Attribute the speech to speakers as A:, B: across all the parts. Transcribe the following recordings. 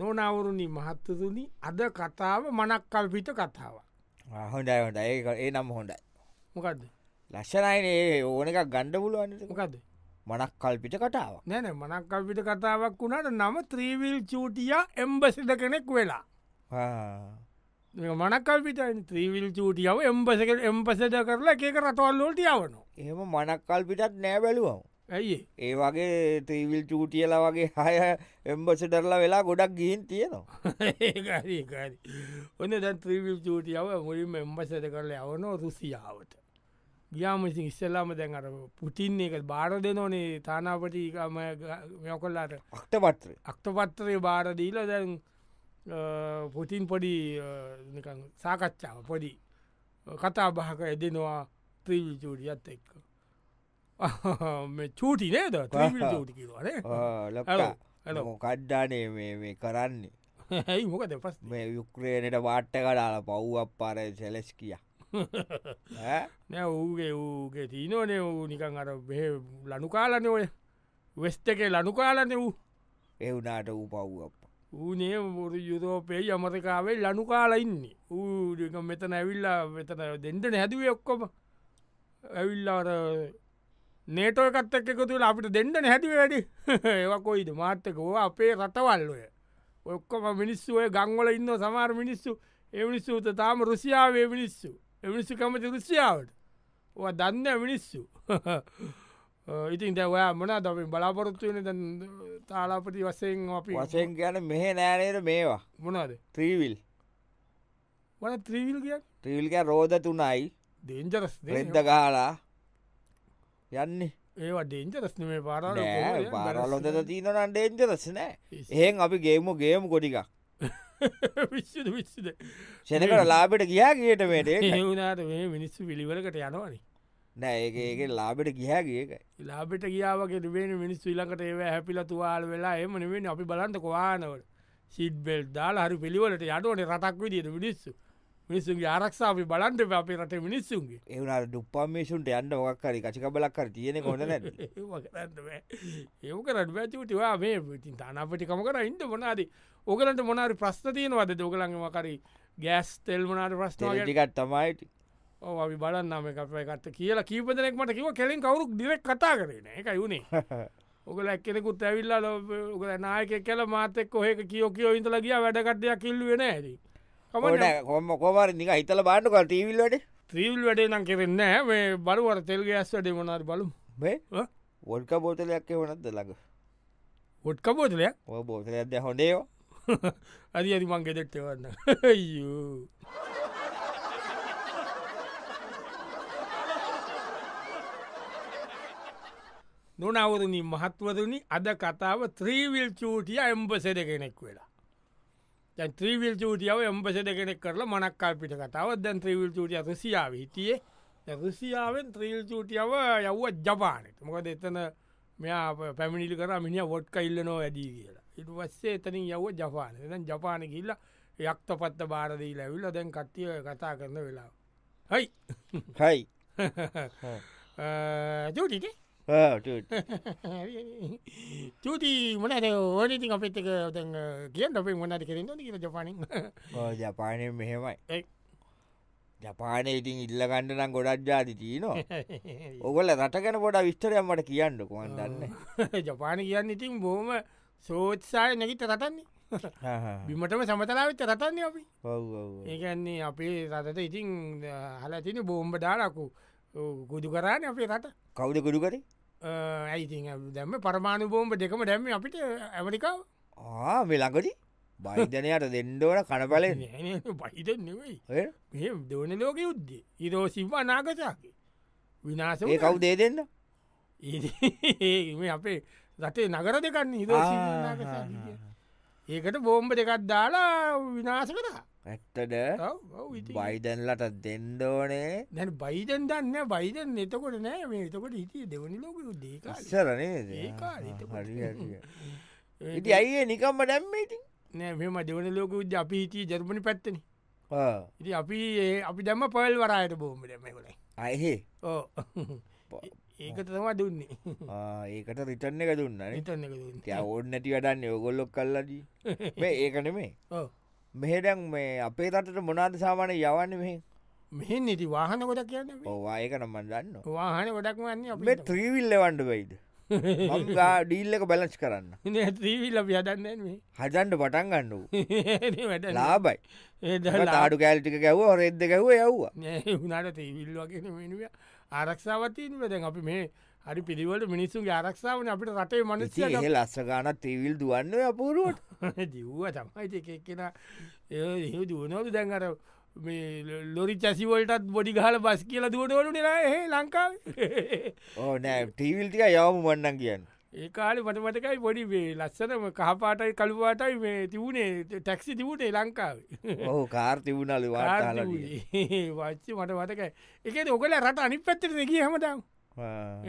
A: නොනවරුණි මහත්තතුනි අද කතාව මනක් කල්පිත කතාව
B: හොඳයි හොඳ ඒ ඒ නම් හොඳයි
A: මොකක්ද
B: ලස්සනයින ඒ ඕන එකක් ගණ්ඩ පුලුවන්
A: මොකද
B: මනක් කල්පිට කටාව
A: නැන මනක් කල්පිට කතාවක් වුණට නම ත්‍රීවිල් චූටිය එම්බසිද කෙනෙක් වෙලා මේ මනකල්පිට ත්‍රීවිල් චූටියාව එම්බස එම්පසද කරලා එකක රටවල්ලෝට යවනවා
B: එහෙම මනක් කල්පිටත් නෑ බැලුවම්
A: ඇයි ඒ?
B: ඒ වගේ ත්‍රීවිල් චූටියල වගේ හය එම්බස ඩරලා වෙලා ගොඩක් ගිහින් තියෙනවා
A: ඒක හරි, ඒක හරි. ඔන්න දැ ත්‍රීවිල් චූටියාව මුලින් එම්බසද කරල යවන රුසියාවට ගියාම ඉතින් ඉස්සල්ලාම දැන් අර පුටින් එක බාර දෙනෝනේ තානාපටිකම මෙකොල්ලාට
B: අක්ට පත්්‍රේ
A: අක්තපත්තරය බාරදීල දැන් පොතින් පොඩි අ, නිකන් සාකච්ඡාව පොඩි කතා බහක ඇදෙනවා ත්‍රීවිල් චූටියත් එක්ක මේ චූටි නේද ත්‍රීවිල් චූටි කිවනේ
B: ලොක්කා
A: hello.
B: මොකඩ්ඩානේ මේ මේ කරන්නේ
A: ඇයි මොකද පස්
B: මේ යුක්්‍රේණයට වාට්ට කඩාල පව්වක් පර සෙලෙස් කිය
A: නෑ ඌගේ ඌගේ තිීනෝනේ වූ නිකන් අර බෙහෙ ලනුකාලනය ඔය වෙස්ට එක ලනුකාලනය වූ
B: එවුනාට වූ පව්වක්
A: ඌනේ බොරු යුරෝපය අමරකාවේ ලනුකාලඉන්නේ ඌක මෙතන ඇවිල්ලා වෙතන දෙන්ටන හැදුව ඔක්කොම ඇවිල්ලාර නේටෝ කත්තක් එකතුල අපිට දෙන්නන හැතිව වැඩි ඒකොයිද මාර්තකෝ අපේ රටවල්ලය ඔක්කොම මිනිස්සු ඔය ගංවල ඉන්න සමාර මිනිස්සු එමිනිස්සූත තාම රුසියාවේ මිනිස්සු එමිනිස්සු කමති රුසියාවට ඔ දන්න මිනිස්සු අ, ඉතින් දැවයා මොන දමින් බලාපොරොත්තුවන දැන් තාලාපටි වසයෙන් අපි
B: වසයෙන් කියන මෙහෙ නෑනයට මේවා
A: මොනාද
B: ත්‍රීවිල්
A: වන ත්‍රීවිල් කිය
B: ත්‍රීවිල්ක රෝධ තුනයි
A: දේන්ජරස්
B: රෙද්ද ගාලා යන්නේ
A: ඒවා ඩේන්ජරස් නේ පාරල
B: නෑ පාරලොඳ තිීනනන් ඩේන්ජරස් නෑ එහෙන් අපි ගේමු ගේමු කොටිකක්
A: විශ්ද විශ්ද
B: සෙනකට ලාබෙට ගියා ගියට මේටේ
A: ඒවනාට මේ මිනිස්සු පිළිවලකට යනවනේ
B: නෑ ඒ ඒක ලාබෙට ගියා ගියකයි
A: ලාබෙට කියාවගේ වෙන මිනිස් විලකට ඒව හැපිල තුවාල වෙලා එම නිවෙන අපි බලන්ට කොවානවට සිිට් බෙල් දාලා හරි පිළිවලට යටුවන රටක් විදියට මිනිස්සු මිනිස්සුන්ගේ ආරක්ෂාව බලන්ට අපේ රට මිනිස්සුන්ගේ
B: ඒවනට ඩුප්පම්මේෂුන්ට යන්න ඔක්ක් කරි කචිකබලක් කර තියෙන කොඳ නැද
A: ඒක රට වැැචටිවා මේ ඉතින් තනපටිකම කර ඉන්න මොනාද ඕකලට මොනාරි ප්‍රශ්න තියෙනවද දෝකළඟම කරි ගෑස් තෙල් මනාට ප්‍රශ්නාව
B: ටිකත් තමයිට
A: අපි බලන්නම කපයකත් කියලා කීපදනෙක්මට කිව කෙලින් කවරුක් දිරක් කතා කරන එක යුුණේ ඔකල එක්කෙනෙකුත් ඇවිල්ලා ඔකල නායක කල මාතෙක් ඔහෙක කියෝ කියෝ ඉඳල ගිය වැඩකටයක් කිල්ලුවෙන ඇති
B: ඕන
A: කමට
B: කොම කොමර නික හිතල බාන්නක ටීවිල්ලට
A: ත්‍රීවිල් වැඩේ නම් කෙරෙන්න මේ බලුවර තෙල්ගේ ඇස් වැඩේ මොනාට බලු
B: මේ වොල්ක බෝතලයක් එවනත් දළඟ
A: ඔොට් කපෝතලයක්
B: ඔය බෝතලයක්ද හොඳේෝ
A: අරි අරි මං ගෙදෙක්ටවන්න යෝ නොනවරණින් මහත්වරණි අද කතාව ත්‍රීවිල් චූටිය එම්බසෙද කෙනෙක් වෙලා දැන් ත්‍රීවිල් චූටියාව එම්බසෙද කෙනෙක් කරලා මනක් කල්පිට කතාව දැන් ත්‍රීවිල් චූටිය රුසියාව හිටියේ දැන් රුසියාවෙන් ත්‍රීවිල් චූටියාව යව්ව ජපානට මොකද එතන මෙයා අප පැමිණිලි කර මිනි වොට්ක ඉල්ලනෝ වැඩී කියලා ඉට වස්සේ එතනින් යව්ව ජපාන දැන් ජපාන කිල්ල යක්තපත්ත බාරදී ලැවිල්ල දැන් කට්ටිය කතා කරන වෙලාව හයි
B: හයි
A: චූටිට චූති මොනද ඕනති අපිත් එක දැන් කියන්න අපේ මොනද කරෙන කිය ජපානින්
B: ජපානය මෙහෙමයි
A: ඒ.
B: ජපානය ඉතින් ඉල්ලගණඩ නම් ගොඩක් ජාති තියනවා ඔගොල රට ගැන පොඩ විස්තරයක් මට කියන්න කුවන් දන්න
A: ජපාන කියන්න ඉතින් බෝම සෝත්සාය නැගිත රතන්නේ බිමටම සමතලාවෙත රතන්නේ අපි ඒකන්නේ අපේ රතට ඉතින් හලතින බෝම්බ දාලකු ගුදු කරන්න අපේ රට
B: කවුද ගුඩු කරේ
A: ඇයිති දැම පරමාණු බෝම්බ දෙකම දැම්ම අපිට ඇමරිකාව
B: ආ වෙලඟටි බයිධනයට දෙන්ඩෝන කනපලෙන්
A: පහිත නෙවෙයි මෙ දෝන ලෝක යුද්ධේ ඉරෝ සිම්ව අනාගතයකි විනාස
B: ඒ කව් දේ දෙන්න
A: ඒ අපේ රටේ නගර දෙකන්න හිරෝ
B: ආ,
A: ඒකට බෝම්බ දෙකත් දාලා විනාශ කරා
B: ඇත්තට
A: ඔව්, ඔව්, ඉතින්.
B: බයිදන්ලට දෙන්ඩෝනේ
A: දැන් බයිදන් දන්න බයිදන් එතකොට නෑ මේ එතකොට හිටිය දෙවනි ලෝක යුද්ධේක
B: අස්සරනේද
A: ඒ කාලේ එතකොට.
B: ඉති අයියේ නිකම්ම දැම්මේටි
A: නෑ මෙම දෙවන ලෝක විද්‍ය අපි හිටිය ජර්මණි පැත්තන ඉති අපි ඒ- අපි දැම පොල් වරායට බෝම්බ දැමකොලයි
B: අයහේ
A: ඕ ඒකට තමා දුන්නේ
B: ආ, ඒකට රිටන්න එක දුන්නන
A: හිතන්න එක දුන්න
B: ඕන්න නැති වැඩන්න යෝගොල්ලොක් කල්ලදී මේ ඒකන මේ මෙහෙඩැන් මේ අපේ රටට මොනාද සාමානය යවන්න මෙහ
A: මෙහි නිති වාහන ගොඩක් කියන්න බෑ.
B: ඕවාඒකන මන්දන්න
A: වාහන ගොඩක් වන්නේ
B: මේ ත්‍රීවිල්ල වන්ඩ වෙයිද ඩීල්ල එක බැලස් කරන්න
A: අපේ ත්‍රීවිල්ල පියදන්නේ
B: හදන්ඩ පටන් ගන්නු
A: වැඩ
B: ලාබයි
A: ඒදලා
B: ආඩු කෑල්ටික ගැව රෙද්ද ගැව යව්වා
A: හුණට තීවිල් වගේ මෙනුව ආරක්ෂාවතීන් වැදැන් අපි මේ හරි පිළිවල මිනිස්සුන් ආරක්ෂාවන අපිට රටේ මනසිය
B: ඒ ලස්ස ගානත් තීවිල් දුවන්න අපූරුවට
A: දිව්ව තමයි එකක්කෙන ඒ දුවනවද දැන්ගර මේ ලොරි චැසිවලටත් බොඩි ගහල බස් කියලා දුවටවලු නිලා ඒ ලංකාව
B: ඕ නෑ ටීවිල්ටික යවම මන්නන් කියන්න
A: ඒකාල පටමටකයි පොඩි වේ ලස්සනම කහපාටයි කළුවාටයි මේ තිබුණේ ටැක්සි තිබුණේ ලංකාවේ
B: ඔහු කාර් තිබුණලු වාටාල
A: වච්චි මට මතකයි එක ඔකල රට අනි පැත්තර දෙකිය හමතම්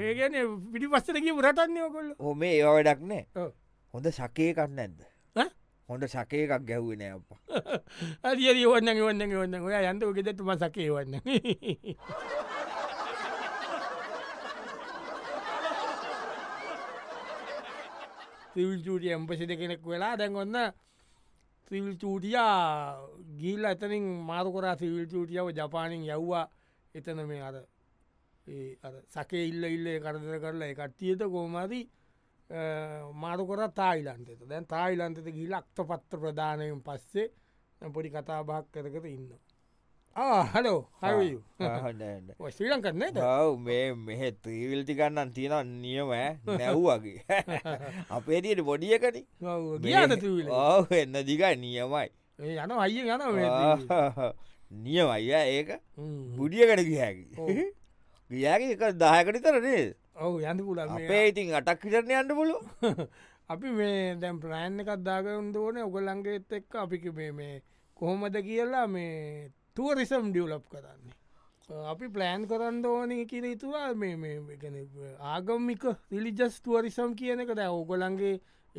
A: ඒගැන පිටි පස්සරකි රටන්නේ ඔකොල්ල
B: හො මේ ඒවා වැඩක් නෑ
A: ඔව්.
B: හොඳ සකේකක් නැද්ද
A: ඈ?
B: හොඳ සකේකක් ගැව්වෙන අප
A: අරිියරි ඔන්න ඔන්න ඔන්න ඔය යන්ත ගෙදැත්තු මසකේ වන්න සිවිල්චූටිය එම්පසිට කෙනෙක් වෙලා දැන් ඔන්න සිවිල් චූටියා ගිල් ඇතනින් මාරුකරා සිවිල් චූටියාව ජපානින් යව්වා එතන මේ අර ඒ අර සකේ ඉල්ල ඉල්ල කරදර කරලා එකට්ටියත කෝමදී e, මාරුකොර තායිලන්තෙත දැන් තායිලන්තෙත ගිලක්ත පත්ත ප්‍රධානයෙන් පස්සේ දැන් පොඩි කතාබහක් කරකට ඉන්න හලෝ හවි ශ්‍රී ලංකරන්නේ
B: ඔව මේ මෙහෙ ත්‍රීවිල්ටි ගන්නන් තියෙන නියම ඈ. නැව් වගේ අපේදයට බොඩියකට
A: ගියාද තුවිල
B: ඔව එන්න දිගයි නියමයි
A: යන අයිය යන
B: Ah. නියම අයිය ඒක
A: Hmm.
B: බුඩියකට ගියකි ගියකි එක දායකට තරනේ
A: ඔවු යන්න පුල
B: අපේ ඉතින් අටක් විටරණ අන්න පුලු
A: අපි මේ දැම් ප්‍රෑන් එකත් දාගන්න ඕන ඔගල්ලංගේත් එක්ක අපික මේ මේ කොහොමද කියලා මේ තුවරිසම් ඩියවලප් කරන්නේ අ, අපි ප්ලෑන් කරන්න ඕන කියර තුවා මේ මේ ගැන ආගමික රිලිජස් තුවරිසම් කියන එක දැ ඕගොලන්ගේ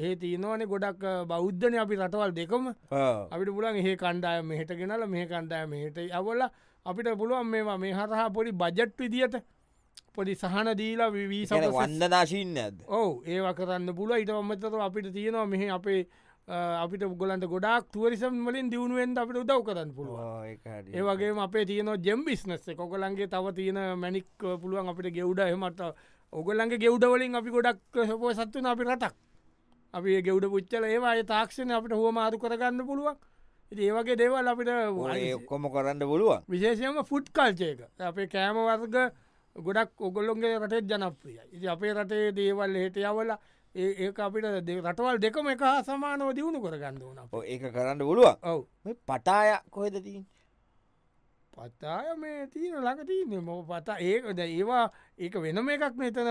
A: ඒ තියනවානේ ගොඩක් බෞද්ධන අපි රටවල් දෙකම අපිට පුලන් ඒ කණ්ඩාය මෙහට ගෙනල මේ කණ්ඩාය මෙහට අවල අපිට පුළුවන් මේවා මේ හරහා පොඩි බජට් විදිහට පොඩි සහන දීලා වීස
B: වන්දනාශීන්න ඇද
A: ඔව ඒවා කරන්න පුල ඉටමතර අපිට තියෙනවා මෙහ අපේ අ, අපිට ගොලන්ට ගොඩක් තුවරිසම් වලින් දියුණුවෙන් අපිට උදව් කරන්න පුළුවන් ඒවගේ අපේ තියන ජෙම් බිස්නස් කොකලන්ගේ තව තියෙන මැනික් පුළුවන් අපිට ගෙව්ඩ හෙමට ඔගොල්ලන්ගේ ගෙව්ඩවලින් අපි ගොඩක් සපෝ සත්වන අපි රටක් අපි ඒ ගෙව්ඩ පුච්චල ඒවා අය තාක්ෂණ අපිට හුව මාරු කරගන්න පුළුවන් ඉතින් ඒ වගේ දේවල් අපිට
B: ඔක්කොම කරන්න පුළුවන්
A: විශේෂයම ෆුට් කල්චයක අපේ කෑම වර්ග ගොඩක් ඔගොල්ලොන්ගේ රටේ ජනප්‍රිය ඉති අපේ රටේ දේවල් හටයවල ඒ ඒක අපිට දේ- රටවල් දෙකම එක හා සමානව දියුණු කරගන්න ඕන අප
B: ඔව් ඒක කරන්න පුළුවන්
A: ඔව
B: මේ පටාය කොහෙද තින්
A: පතාය මේ තියෙන ලඟතින්නේ මො පතා ඒකද ඒවා ඒක වෙනම එකක් මෙතන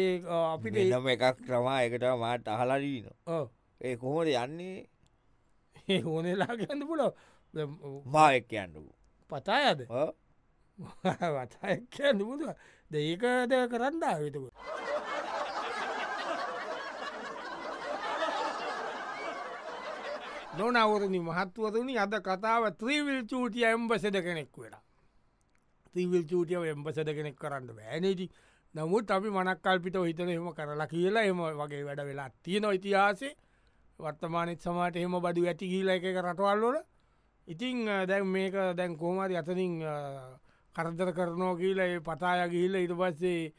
A: ඒ අ, අපිට ඒ-
B: නම එකක් ක්‍රමා එකට මාට අහලරීන
A: ඔව්.
B: ඒ කොහොට යන්නේ
A: ඒ ඕනෙලා ගන්න පුල
B: මාවක් යන්නකු
A: පතායද වතයන්න පුුද ද ඒකද කරන්න විතක නොනවරණ මහත්වතුනි අද කතාව ත්‍රීවිල් චූටිය එම්බසද කෙනෙක් වෙලා ත්‍රීවිල් චූටිය එම්බසද කෙනෙක් කරන්න බෑනේති නමුත් අපි මනක්කල්පිට හිතන එම කරලා කියලා එම වගේ වැඩ වෙලා තියෙන ඉතිහාසේ වර්තමානත් සමට එහෙම බඩු ඇති කියීල එක රටවල්ලොල ඉතිං අ, දැන් මේක දැන් කෝමරි අතනින් අ, කරදර කරනවා කියලා ඒ පතාය ගිහිල්ල ඉට පස්සේ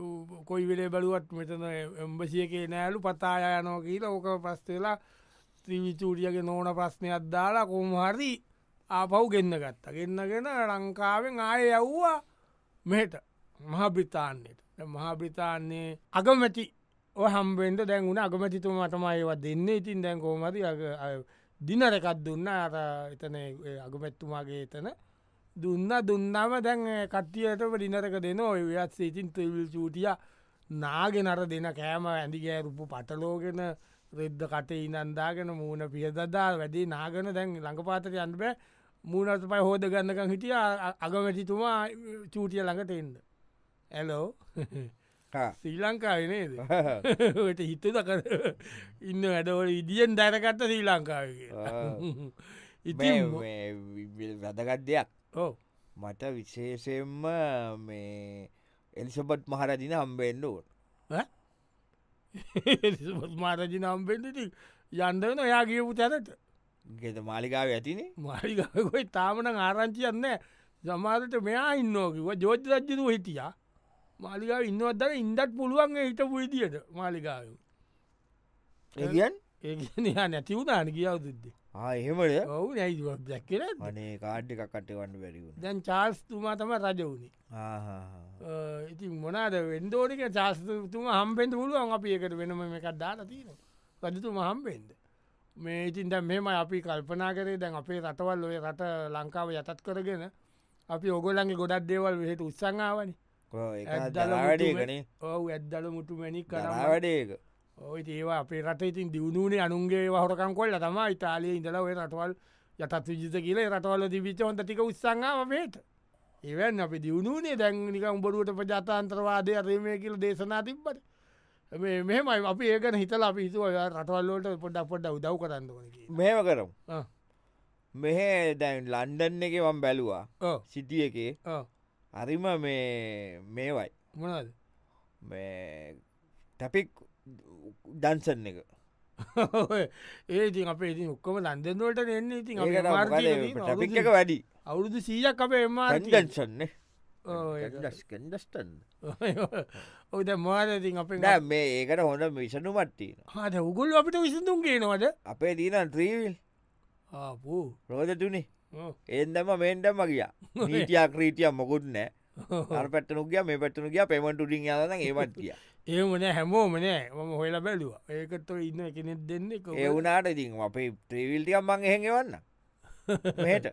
A: ඌ කොයි වෙලේ බලුවත් මෙතන එම්බසියකේ නෑලු පතාය යනෝ කියලා ඕක පස්සේලා ත්‍රීවිචූටියගේ නෝන ප්‍රශ්නයක් දාලා කොමහරි ආපව් ගෙන්න්න ගත්ත ගෙන්න්නගෙන ලංකාවෙන් ආය යව්වා මෙට මහාබ්‍රිතාන්නයට මහාබ්‍රිතාන්නේ අගමැති හම්බෙන්ට දැන් වුණ අගමැතිතුම මටමයවා දෙන්න ඉතින් දැන් කෝමති දිනරකත් දුන්න අර එතන ඒ අගමැත්තුමාගේ එතන දුන්න දුන්නම දැන් ඒ කට්ටියටම ඩිනරක දෙන ඔයත් සේතින් තවිල් චූටිය නාගෙන අර දෙන කෑම ඇඳිගෑ රුපු පටලෝගෙන රෙද්ද කටේ ඉනන්දාගෙන මූුණ පියදදා වැඩේ නාගෙන දැන් ළඟපාතර යන්බ මූුණට පයි හෝද ගන්නකං හිටිය අගමැටිතුමා චූටිය ළඟට එන්න ඇලෝ ශ්‍රී ලංකාවනේද ට හිතද කර ඉන්න වැඩවල ඉදියෙන් දැනකත්ත ශ්‍රී ලංකාවගේ ඉති
B: වැදගත් දෙයක්
A: ඕ
B: මට විශේෂයෙන්ම මේ එලිසබත් මහරදින හම්බෙන්ඩුව
A: මාරජි නම්බෙන්ටිටි යන්දන ඔයා කියපු තැනට
B: ගෙත මාලිකාව ඇතිනේ
A: මරිකයි තාමන ආරංචි යන්න සමාරට මෙයා ඉන්නෝකිව ජෝජ රජ්ජතුව හිටිය මාලිකාව ඉන්නවත්තර ඉන්දත් පුළුවන් ඒ හිටපු විදියට මාලිකාව
B: ඒගන්
A: ඒ නැතිවුණන කියවදද
B: එහෙමට
A: ඔවු නැයිුවක් දැක්කර
B: අනේ කාඩ් එකක් කටවන්න වැැරිවුණ
A: දැන් චාස්තුමා තම රජ වුණේ ඉති Uh, මොනාද වෙන්දෝනික චාස්තතුම හම්පෙන්ට පුළුවන් අපි එකට වෙනම එකක් දාලා තියෙන රජතු මහම්පෙන්ද මේ ඉතින් දැ මෙම අපි කල්පනා කරේ දැන් අපේ රටවල් ඔය රට ලංකාව යටත් කරගෙන අපි ඔගොලන්ගේ ගොඩක් දේවල් වෙහෙට උත්සංාවනි ඇත්දල
B: වැඩේකනේ
A: ඔවු ඇද්දල මුටු මැනික් කරා
B: කරාවැඩේක
A: ඔයි ඒවා අපේ රට ඉතින් දියුණුනේ අනුන්ගේ වහරකන් කොල්ල තම ඉතාලිය ඉඳල ඔය රටවල් යටත් විජිත කියල රටවල දිවිචවන්ත ටික උත්සංාව පේට එවන් අපි දියුණුනේ දැන්නික උඹරුවට ප්‍රජාතන්ත්‍රවාදය රේමය කියල දේශනා තිබ්බට මේ- මෙහෙමයි අපි ඒකන හිතල අපි හිතුව ඔය රටවල්ලට පොඩ්ඩක් පොඩ්ඩ උදව් කරන්නවනකි
B: මෙහෙම කරම් මෙහෙ දැන් ලන්ඩන් එක වම් බැලුවා සිටිය එකේ අරිම මේ මේවයි
A: මොනද
B: මේ ටැපික් දන්සන් එක
A: ඒති අපේ ඉති ඔක්කම ලන්දෙන්වලට එන්න ඉතින් අපේ
B: ඒකට
A: MRT එකේ
B: මොකද
A: තියෙන
B: ටැපික් එක
A: අවුරුදු-
B: වැඩි
A: අවුරුදු සීයක් අපේ එම
B: කන්ඩන්සන්නේ කන්ඩස්ටන්
A: ඔද මාරතින් අපේ
B: නෑ මේ ඒකට හොඳ මිෂණු මට්ටීන
A: හට උගුල් අපිට විසඳුම් කියනවද
B: අපේ දීන ත්‍රීවිල්
A: ආපූ
B: රෝධ තුනේ එන්දම මේන්ටම ගිය නීතියා ක්‍රීටිය මොකුත් නෑ අර පැටනු ගිය මේ පැටනු ගිය පෙමට ටිින් යන ඒමත් කිය
A: ඒමන හැමෝමනෑ මම හොලා බැලවා ඒකත්ව ඉන්න කෙනෙක් දෙන්නේ කො-
B: ඒවුනාට ඉතින් අපේ ත්‍රීවිල්ටිය මං එහෙගවන්න මෙට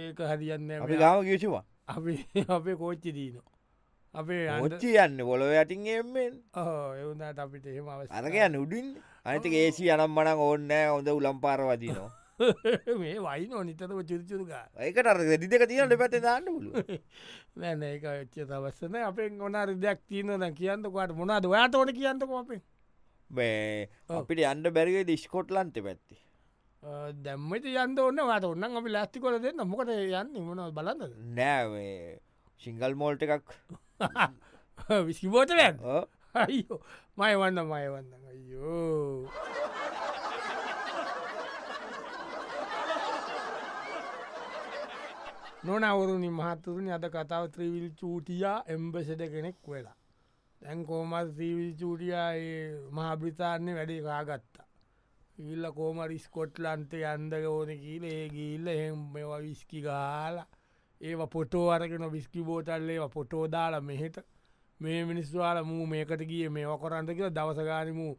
A: ඒක හරියන්න
B: අපි ගාම කිසිවා
A: අපි අපේ කෝච්චි දීන අපේ
B: ඔච්චි යන්න බොලොව යටින් එෙන්
A: එවුණට අපිට එහෙම අවස
B: අරකයන් උඩින් අනති ඒසි අනම් මනක් ඕන්න හොඳ උලම්පාර වදිනවා
A: මේ වයින නිතරම චුරිචුරුගා
B: ඒකට අර දිදක තියනට පැත දාන්න පුලු
A: නැන ඒක ච්ච තවස්සන අපේ ගොනා රිදයක් තියන කියන්නකොට මොනාද ඔයාට ඕන කියන්නක අපේ
B: මේ
A: ඔව්.
B: අපිට අන්ඩ බැරිගේ දිස්කොට්ලන්ත පැත්ති
A: දැම්මට යන්න ඔන්න වාට ඔන්න අපි ලස්ති කොල දෙන්න මොකට යන්න මොන බලන්නද
B: නෑ සිංගල් මෝල්ට එකක්
A: විසිබෝටලයන්
B: ඕ
A: අයිෝ මයවන්න මයවන්න අයෝ නොනවරුණනි මහත්තුරනි අද කතාව ත්‍රීවිල් චූටියා එම්බසට කෙනෙක් වෙලා දැන් කෝමත් ත්‍රීවිල් චූටියා මහාබ්‍රිතාන්නේ වැඩේ කාගත්තා ඉල්ල කෝමර ස්කොට්ලන්තේ අන්දක ඕන කියීල ඒ ගිල්ල එහෙම මෙවා විස්කි ගාලා ඒවා පොටෝ අරගෙන විස්කි බෝටල්ලේ පොටෝ දාලා මෙහෙට මේ මිනිස්වාල මූ මේකට ගිය මේ කොරන්ට කියල දවසගානමූ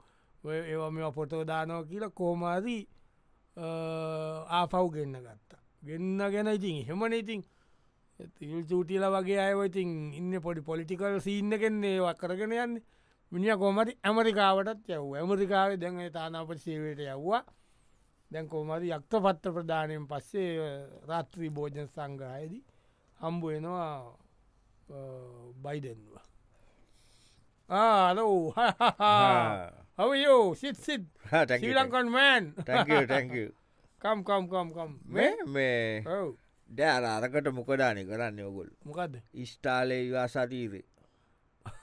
A: ඒවා මෙ පොටෝදානෝ කියල කෝමාදී ආපව් ගන්න ගත්තා ගන්න ගැන ඉතින් හෙමන ඉතින් ඉල් චූටිල වගේ අයවඉතින් ඉන්න පොඩි පොලිටිකල් සීන්න කෙන්නේ වක් කරගෙන යන්න මිනිිය කොමති ඇමරිකාවටත් යව් ඇමරිකාවේ දැන් ඒ තානාපට සේවයට යව්වා දැන් කෝමති යක්ත පත්ත ප්‍රධානයෙන් පස්සේ අ, රාත්‍රී භෝජන සංග්‍රහයේදී හම්බු එනවා බයිඩෙන්වා ආලෝ හවයෝ සිත් සිත් ශ්‍රී ලංකන් මෑන්
B: ටැක
A: කම්කම්කම්කම්
B: මේ මේ
A: ඔව්
B: ඩෑ අරකට මොකඩානය කරන්න ඔගොල්
A: මොකක්ද
B: ස්ටාලේ වාසාතීරේ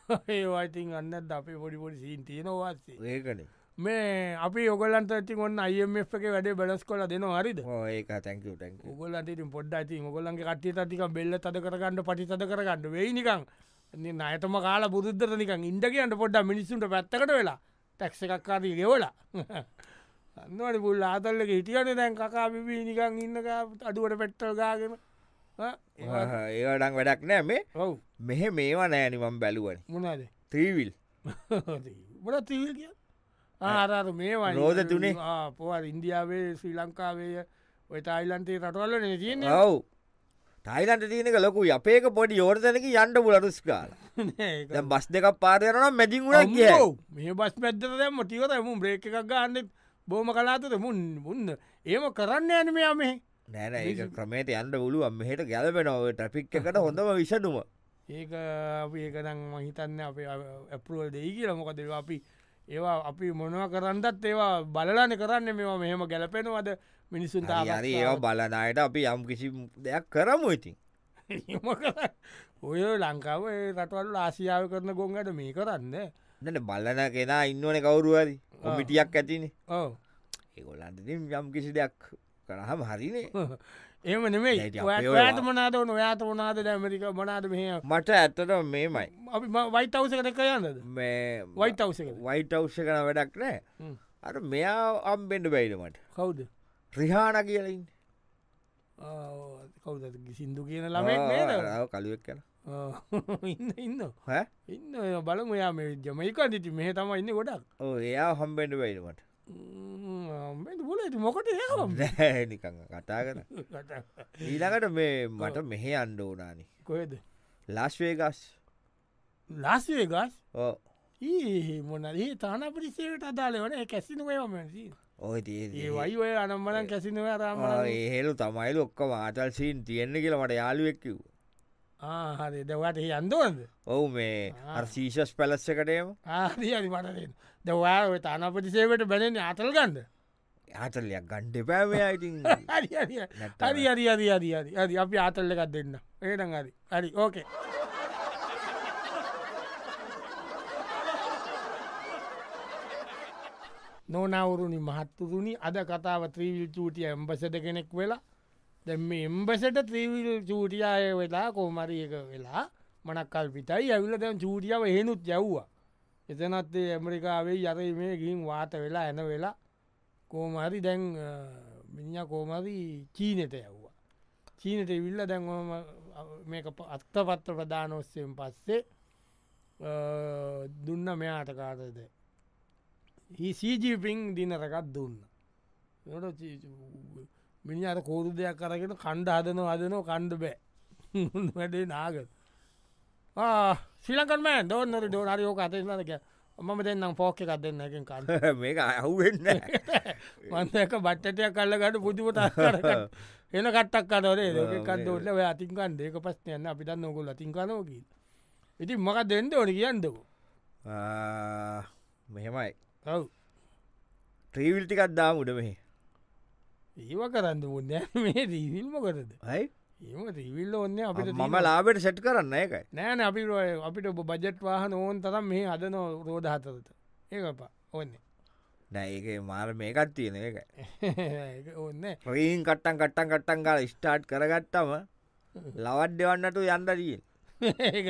A: ඒවායිතින් අන්න අපේ පොඩි පොඩි සීන් තියෙනවාත්සේ
B: ඒකන
A: මේ අපි ඔගලන්ට ඇති ඔන්න අයම එක වැඩේ බැලස් කොල දෙන හරිද
B: ඒක තැක ටැක
A: ඔගලන්ට පොඩ්ඩ ඇති ඔගොලන්ගේ කට්ටිය තික බෙල්ල තද කරගන්න පටිතද කරගන්න වෙයිනිකං අයතම කාලා බුදුද්දර නිකන් ඉන්ඩ කියන්ට පොඩ්ඩ මිනිස්සුන්ට පැත්තකට වෙලා ටැක්ස එකක්කාරී ගෙවලා අන්නවට පුල් ආතල්ලක හිටියට දැන් කකා බිබී නිකං ඉන්නක අඩුවට පෙට්ටල් ගාගෙන
B: ඒවඩක් වැඩක් නෑ මේ
A: ඔව්
B: මෙහෙ මේවා නෑනිවම් බැලුවන
A: මොනාද
B: ත්‍රීවිල්
A: මොට තිීල් කිය ආරාර මේවා
B: රෝද තුනේ.
A: පොවල් ඉන්දියාවේ ශ්‍රී ලංකාවේ ඔය තායිල්ලන්තේ රටවල්ල නතියන්නේ
B: ඔව් තයිලන්ට තියනක ලොකු අපේක පොඩි යෝර්තනක යන්ඩ පුලරුස්කාල
A: ඒක
B: දැ බස් දෙක පාරයරන මැදිින් ගුණක් කිය
A: අම්මෝ! මේ බස් පැද්දර දැම ටිවත මුම් බ්‍රේක එකක් ගන්න බෝම කලාතට මුන් මුන්න ඒම කරන්න යන මෙයා මේ
B: නෑන ඒක ක්‍රමේට යන්න පුළුවන් මෙහට ගැලපෙනව ටපික් එකට හොඳම විසටුම
A: ඒක අපි ඒකනම් මහිතන්න අප ඇපරුවල් දෙයි කියලා මොකද ඒවා අපි ඒවා අපි මොනව කරන්නත් ඒවා බලලාන කරන්න මෙවා මෙහෙම ගැලපෙනවද මිනිසුන්
B: හරි
A: තාම
B: හරි ඒවා බලනායට අපි යම් කිසි දෙයක් කරමු ඉතින්
A: ඔය ලංකාව ඒ රටවල් ආසියාව කරන ගොන්ගට මේ කරන්න
B: නට බලන කෙනා ඉන්නවන කවුරුවරි කොමිටියක් ඇතිනේ
A: ඕ
B: ඒගොල්ලන්ට යම් කිසි දෙයක් කරහම හරිනේ
A: එම නෙමේ
B: දැන් ඉතින් අපේ ඔය-
A: ඔයාට මනාද වන ඔයාත වනාද ඇමරික මනාද මෙහ
B: මට ඇත්තට මේමයි
A: අපි වයිතවසකට එක යන්නද
B: මේ
A: වයිතවසකට
B: වයිට අවෂ්‍ය කන වැඩක් නෑ
A: හ්ම්.
B: අට මෙයා අම්බෙන්ඩ බැයිඩමට
A: කවුද
B: රිහාන කියලින්
A: ආ, කවුද සිින්දු කියන ළමෙක් නේද
B: කළුවක් කන
A: ආ, ඉන්න ඉන්න
B: හ
A: ඉන්න ඔය බලමු යා මේ ජමයික දිටි මෙහ තම ඉන්න ගොඩක්
B: එයා හම්බෙන්ඩ බැයිඩමට
A: බොල ඇති මොකට යාම
B: නිකං කතා කන ඊළඟට මේ මට මෙහෙ අන්ඩ ඕනානි
A: කොයද
B: ලස්වේගස්
A: ලාස්වේ ගස්
B: ඕ
A: ඒ මොනදේ තාන පිරිසේට අදාල වන කැසිනුවම
B: ඔය තිය
A: ඒ වයි ඔය අනම්බලන් කැසිනව රාම
B: ඒහෙලු තමයිල ඔක්ක මාතල් සීන් තියෙන්න්න කියලා මට යාළුවෙක්කිව්
A: හරි දවට අන්දෝන්ද
B: ඔවු මේ අර්ශීෂස් පැලස්සකටේම
A: ආරි අරි මටෙන් දවා ඔය තාන පිරිසේවට බැලෙන අතල් ගන්ද
B: හතල්ලයක් ගණ්ඩ පෑමයා ඉතින්
A: හරි හරි හරි හරි හරි හරි හරි හරි අපි අතල්ල එකක් දෙන්න ඒටන් හරි හරි ඕකේ නොනවුරුණි මහත්තුරුණි අද කතාව ත්‍රීවිල් චූටිය එම්බසට කෙනෙක් වෙලා දැම් මේ එම්බසට ත්‍රීවිල් චූටියාය වෙලා කෝමරියක වෙලා මනක්කල් පිටයි ඇවිල දැම් චූටියාව හෙනුත් යව්වා එතනත් ඒ ඇමරිකාවේ යර මේ ගින් වාත වෙලා ඇන වෙලා කෝමහරි දැන් මිනිිය කෝමරි චීනත යව්වා චීනට විල්ල දැන්ම මේ අත්තපත්ත ප්‍රධානොස්සයෙන් පස්සේ අ, දුන්න මෙයාට කාටද හිසිජීපිං දිනරකත් දුන්න ට මිනි අර කෝරු දෙයක් කරගෙන කණ්ඩ අදන අදනෝ කණ්ඩ බෑ වැඩේ නාග සිලකම දෝන්නට ඩෝනරයෝක අතේනක මම දෙන්නම් පෝක එකක් දෙන්න එකින් කන්න
B: මේක අහුවෙන්න
A: මන්දක බට්ටටයක් කල්ලකට පුතිපත එන කට්ටක් අතරේ කදෝල ඔය අතිකන් දෙක පස්නයන්න අපිට නොකුල් අතිංකනෝකී ඉතින් මක දෙන්න ඕන කියන්නකු
B: ආ, මෙහෙමයි
A: ඔව්
B: ත්‍රීවිල්ටිකත් දාම උඩ මෙහි
A: ඒව කරන්න පුන්න මේ දීවිල්ම කරද
B: හයි
A: ඒම දීවිල්ල ඔන්න අපිට
B: මම ලාබට සැට් කරන්න එකයි
A: නෑන අපි රොය අපිට ඔබ බජට් වාහන ඕන් තරම් මේ අදන රෝධ හතරත ඒකපා ඔන්න
B: නෑ ඒ මාර මේකත් තියෙන එක
A: ඒක ඔන්න
B: ්‍රීන් කට්ටන් කට්ටන් කට්ටන් කාල ස්ටාට් කරගත්තම ලවට් දෙවන්නට යන්න තියෙන්
A: ඒක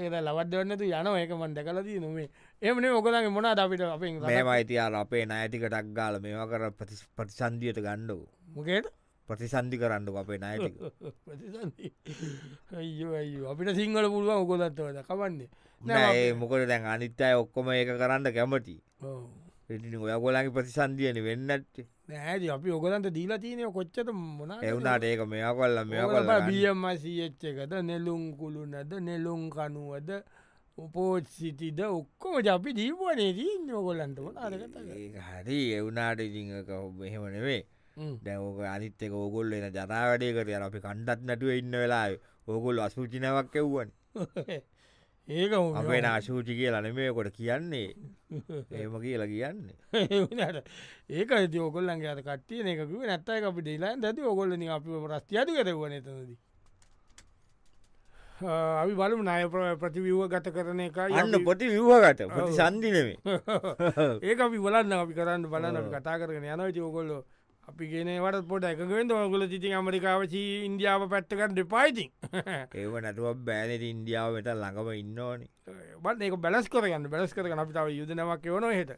A: ඒක ලවත් දෙවන්නතු යන ඒක මන් දැකලදී නොමේ එමන ඔකදගේ මොනා අපිට අපෙන්
B: මේමයිතියාර අපේ නෑතිකටක් ගාල මේවා කර ප්‍රතිස්- ප්‍රතිසන්දියට ගණ්ඩෝ
A: මොකේට
B: ප්‍රතිසන්ධි කරන්නු අපේ නයතික
A: ප්‍රතිසන්ධි. අයියෝ අයියෝ අපිට සිංහල පුළුවන් ඔකොදත්වද කවන්නේ
B: නෑ ඒ මොකද දැන් අනිත් අය ඔක්කොම ඒක කරන්න කැමති
A: ඔව්.
B: ඉටි ඔයගොලගේ ප්‍රතිසන්දියන වෙන්නට
A: නෑද අපි ඔකොදන්ට දීලා තියනය කොච්චට මොනා
B: එවුනාට ඒක මෙයා කොල්ල මෙයා කොල්ල
A: බියමසිච්ච එකද නෙලුම් කුළුනද නෙලුම් කනුවද උපෝත් සිටිද ඔක්කෝ ජපි දීපුවනේ දීන්න ඔකොලන්ට වන අරගත
B: හරි එවුනාට ඉදික මෙහෙමනවේ දැවක අනිත් එක ඕගොල් එන ජනාවැඩේ කර යන අපි කණ්ඩත් නැටුව ඉන්න වෙලා ඕගොල් අසූචිනාවක් එව්වන්
A: ඒක
B: අපේ නාශූචි කිය ලනමයකොට කියන්නේ ඒම කියලා කියන්නේ
A: ඒට ඒක ඇති ඔකොල්ලන්ගේ අත කට්ටිය එකකුව නැත්තයි අපි ඩේලා ඇති ඔකොල්ලන අපි ප්‍රස්තියාතු කරවන තනද අපි බලු නය ප්‍ර- ප්‍රතිවිව්ව ගත කරන එක
B: අන්න පොති විව්හගත පොති සන්දිනවේ
A: ඒක අපි බලන්න අපි කරන්න බලන්න අපි කතා කරන යන චෝකොල්ල අපි ගෙනවට පොට එකකෙන් ඔකොල තිති අමරිකාව චී ඉන්දියාව පැත්තකන්න දෙපායිතින්
B: ඒව නැතුව බෑනෙට ඉන්දියාව වෙට ළඟම ඉන්න ඕනි
A: බත් ඒක බැලස් කරගන්න බැලස් කරන අපි තාව යුදනවක් යවන හෙට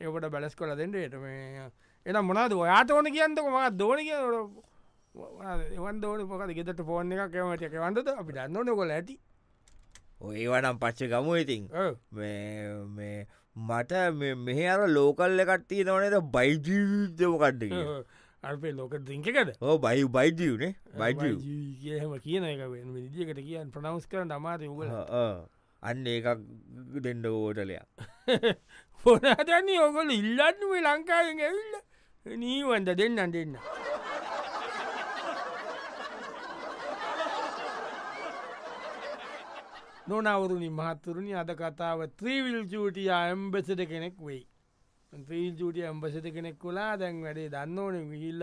A: ඒකට බැලස් කොල දෙට හට මේ එනම් මොනාද ඔයාට ඕන කියන්නක ම දෝන කිය එවන් දෝන පොකද ගෙතට පෝර්න එක කැමට එකවන්ට අපි දන්නන කොල ඇති
B: ඒවනම් පච්ච ගමු ඉතින්
A: ඔව්.
B: මේ මේ මට මේ- මෙහෙ අර ලෝකල්ල කට්ටී නොනද බයිජීවිතමකට්ඩ
A: අල්පේ ලෝක දිංකකද
B: ඕ බයි බයිජීවනේ බයිජීව
A: කියහම කියන එක වෙන විදිියකට කියන්න ප්‍රනවස් කර අමාතය උගල
B: අන්න ඒකක් දෙන්ඩ ඕටලයා
A: හොනතන්නේ ඔකොල ඉල්ලන්න වේ ලංකාවෙන් ඇවිල්ල නීවන්ද දෙන්නන් දෙන්න නොනවරුණි මහත්තුරුණි අද කතාව ත්‍රීවිල් චූටිය ඇම්බෙසට කෙනෙක් වෙයි ත්‍රීල් චූටිය ඇම්බසට කෙනෙක් කොලා දැන් වැඩේ දන්න ඕන විහිල්ල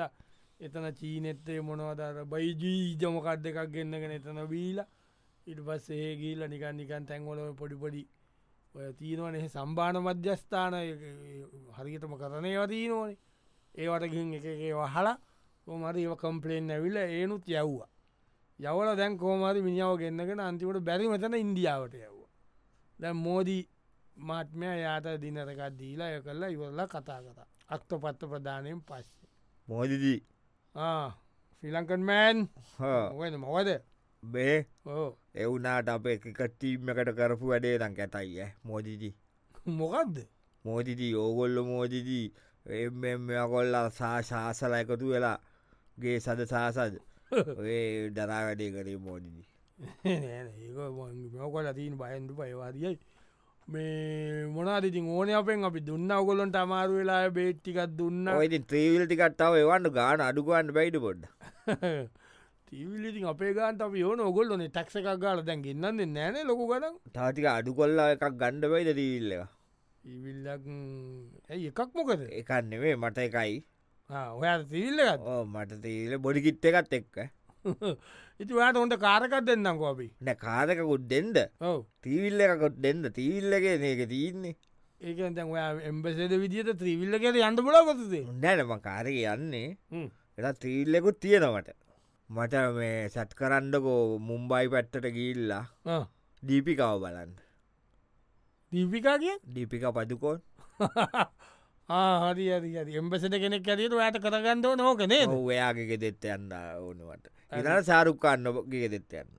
A: එතන චීනෙත්තේ මොනවදර බයිජීජමකක් දෙකක් ගන්නගෙන එතන වීලා ඉට පස් ඒ ගීල නිකන් නිකන් තැන්වල ඔය පොඩිපොඩි ඔය තියෙනවන එහ සම්බාන මධ්‍යස්ථාන හරිගතම කරනයව තියනවනේ ඒවටගින් එකගේ වහලා කොමරි ඒව කම්පලේෙන් ඇවිල ඒනුත් යව්වා යවල දැන් කෝමරි මිනිියාව ගන්නගෙන අන්තිමට බැරි මෙතන ඉන්දියාවට යව්වා දැ මෝදී මාත්මය යාට දිනරකත් දීලා ය කරලා ඉවරලා කතා කතා අක්ත පත්ත ප්‍රධානයෙන් පස්සේ
B: මෝදිදී
A: ෆිලංකන් මෑන් වෙන මොවද
B: බේ
A: ඕ
B: එවුනාට අප එකටීමකට කරපු වැඩේ දං ඇතයි මෝදිදී
A: මොකක්ද
B: මෝදිදී ඕගොල්ල මෝදිදී එමකොල්ල සා ශාසල එකතු වෙලා ගේ සද සාසද ඒ දරා වැඩේ කරේ මෝදිදී
A: මොකොල තිීන් බයන්ඩු පයවාදියයි මේ මොනාතිතින් ඕන අපෙන් අපි දුන්න ඔකොලොන්ට අමාරු වෙලා බේට්ටිකත් දුන්න
B: ඉති ත්‍රීවිල්ටිකට්ටාව එවන්න ගාන අඩුගන්න බයිඩ පොඩ්ඩ
A: තිවිලිති අපේ ගාන්ට අපි ඕන ඔගොල්ලොන ටක්ස එකක් ගාල දැන් ගන්නන්නේ නෑන ලොක ගඩන්
B: තාතික අඩු කොල්ලා එකක් ගණ්ඩ බයිද දීල්ලක
A: ඉවිල්ලක් ඇයි එකක් මොකද
B: එකන්නෙවේ මට එකයි
A: ඔයා තිවිල්ලගත්
B: ඕ මට තීල බොඩිකිට් එකත් එක්ක
A: ඉති ඔයාට ඔොන්ට කාරකත් දෙන්නකු අපි
B: නැ කාදකකුත් දෙෙන්ද
A: ඔව
B: තීවිල්ල එකකොත් දෙන්න තීල්ලගේ නක තියන්නේ
A: ඒකන් තැන් ඔයා එම්බසේද විදිට ත්‍රීවිල්ල කියද අන්ඩ බොලාගොතදේ
B: නැනම කාරක යන්නේ එලා තීල්ලෙකුත් තියෙනවට මට මේ සැට් කරන්නකෝ මුම්බයි පැත්තට ගිල්ලා දීපිකාව බලන්න
A: දීපිකා කිය
B: දීපික පදුකෝන්
A: හරි හරි හරි එම්බසට කෙනෙක් ඇරට ඔයට කරගන්න ඕන ඕකනේ
B: ඔයාගේෙ දෙත්ත යන්න ඕනුවට ඉනට සාරුක්කාන්න ගේ දෙත්ත යන්න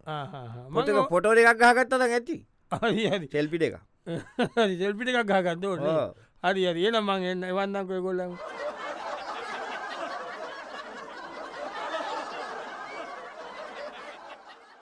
A: මට
B: මොතක පොටෝ එකක් ගහගත්තද ඇති
A: හරි හරි
B: සෙල්පිට එක
A: හරි සෙල්පිට එකක් ගාගන්න ඕන
B: ඕ.
A: හරි හරි එන මං එන්න එවන්නක ගොල්ලන්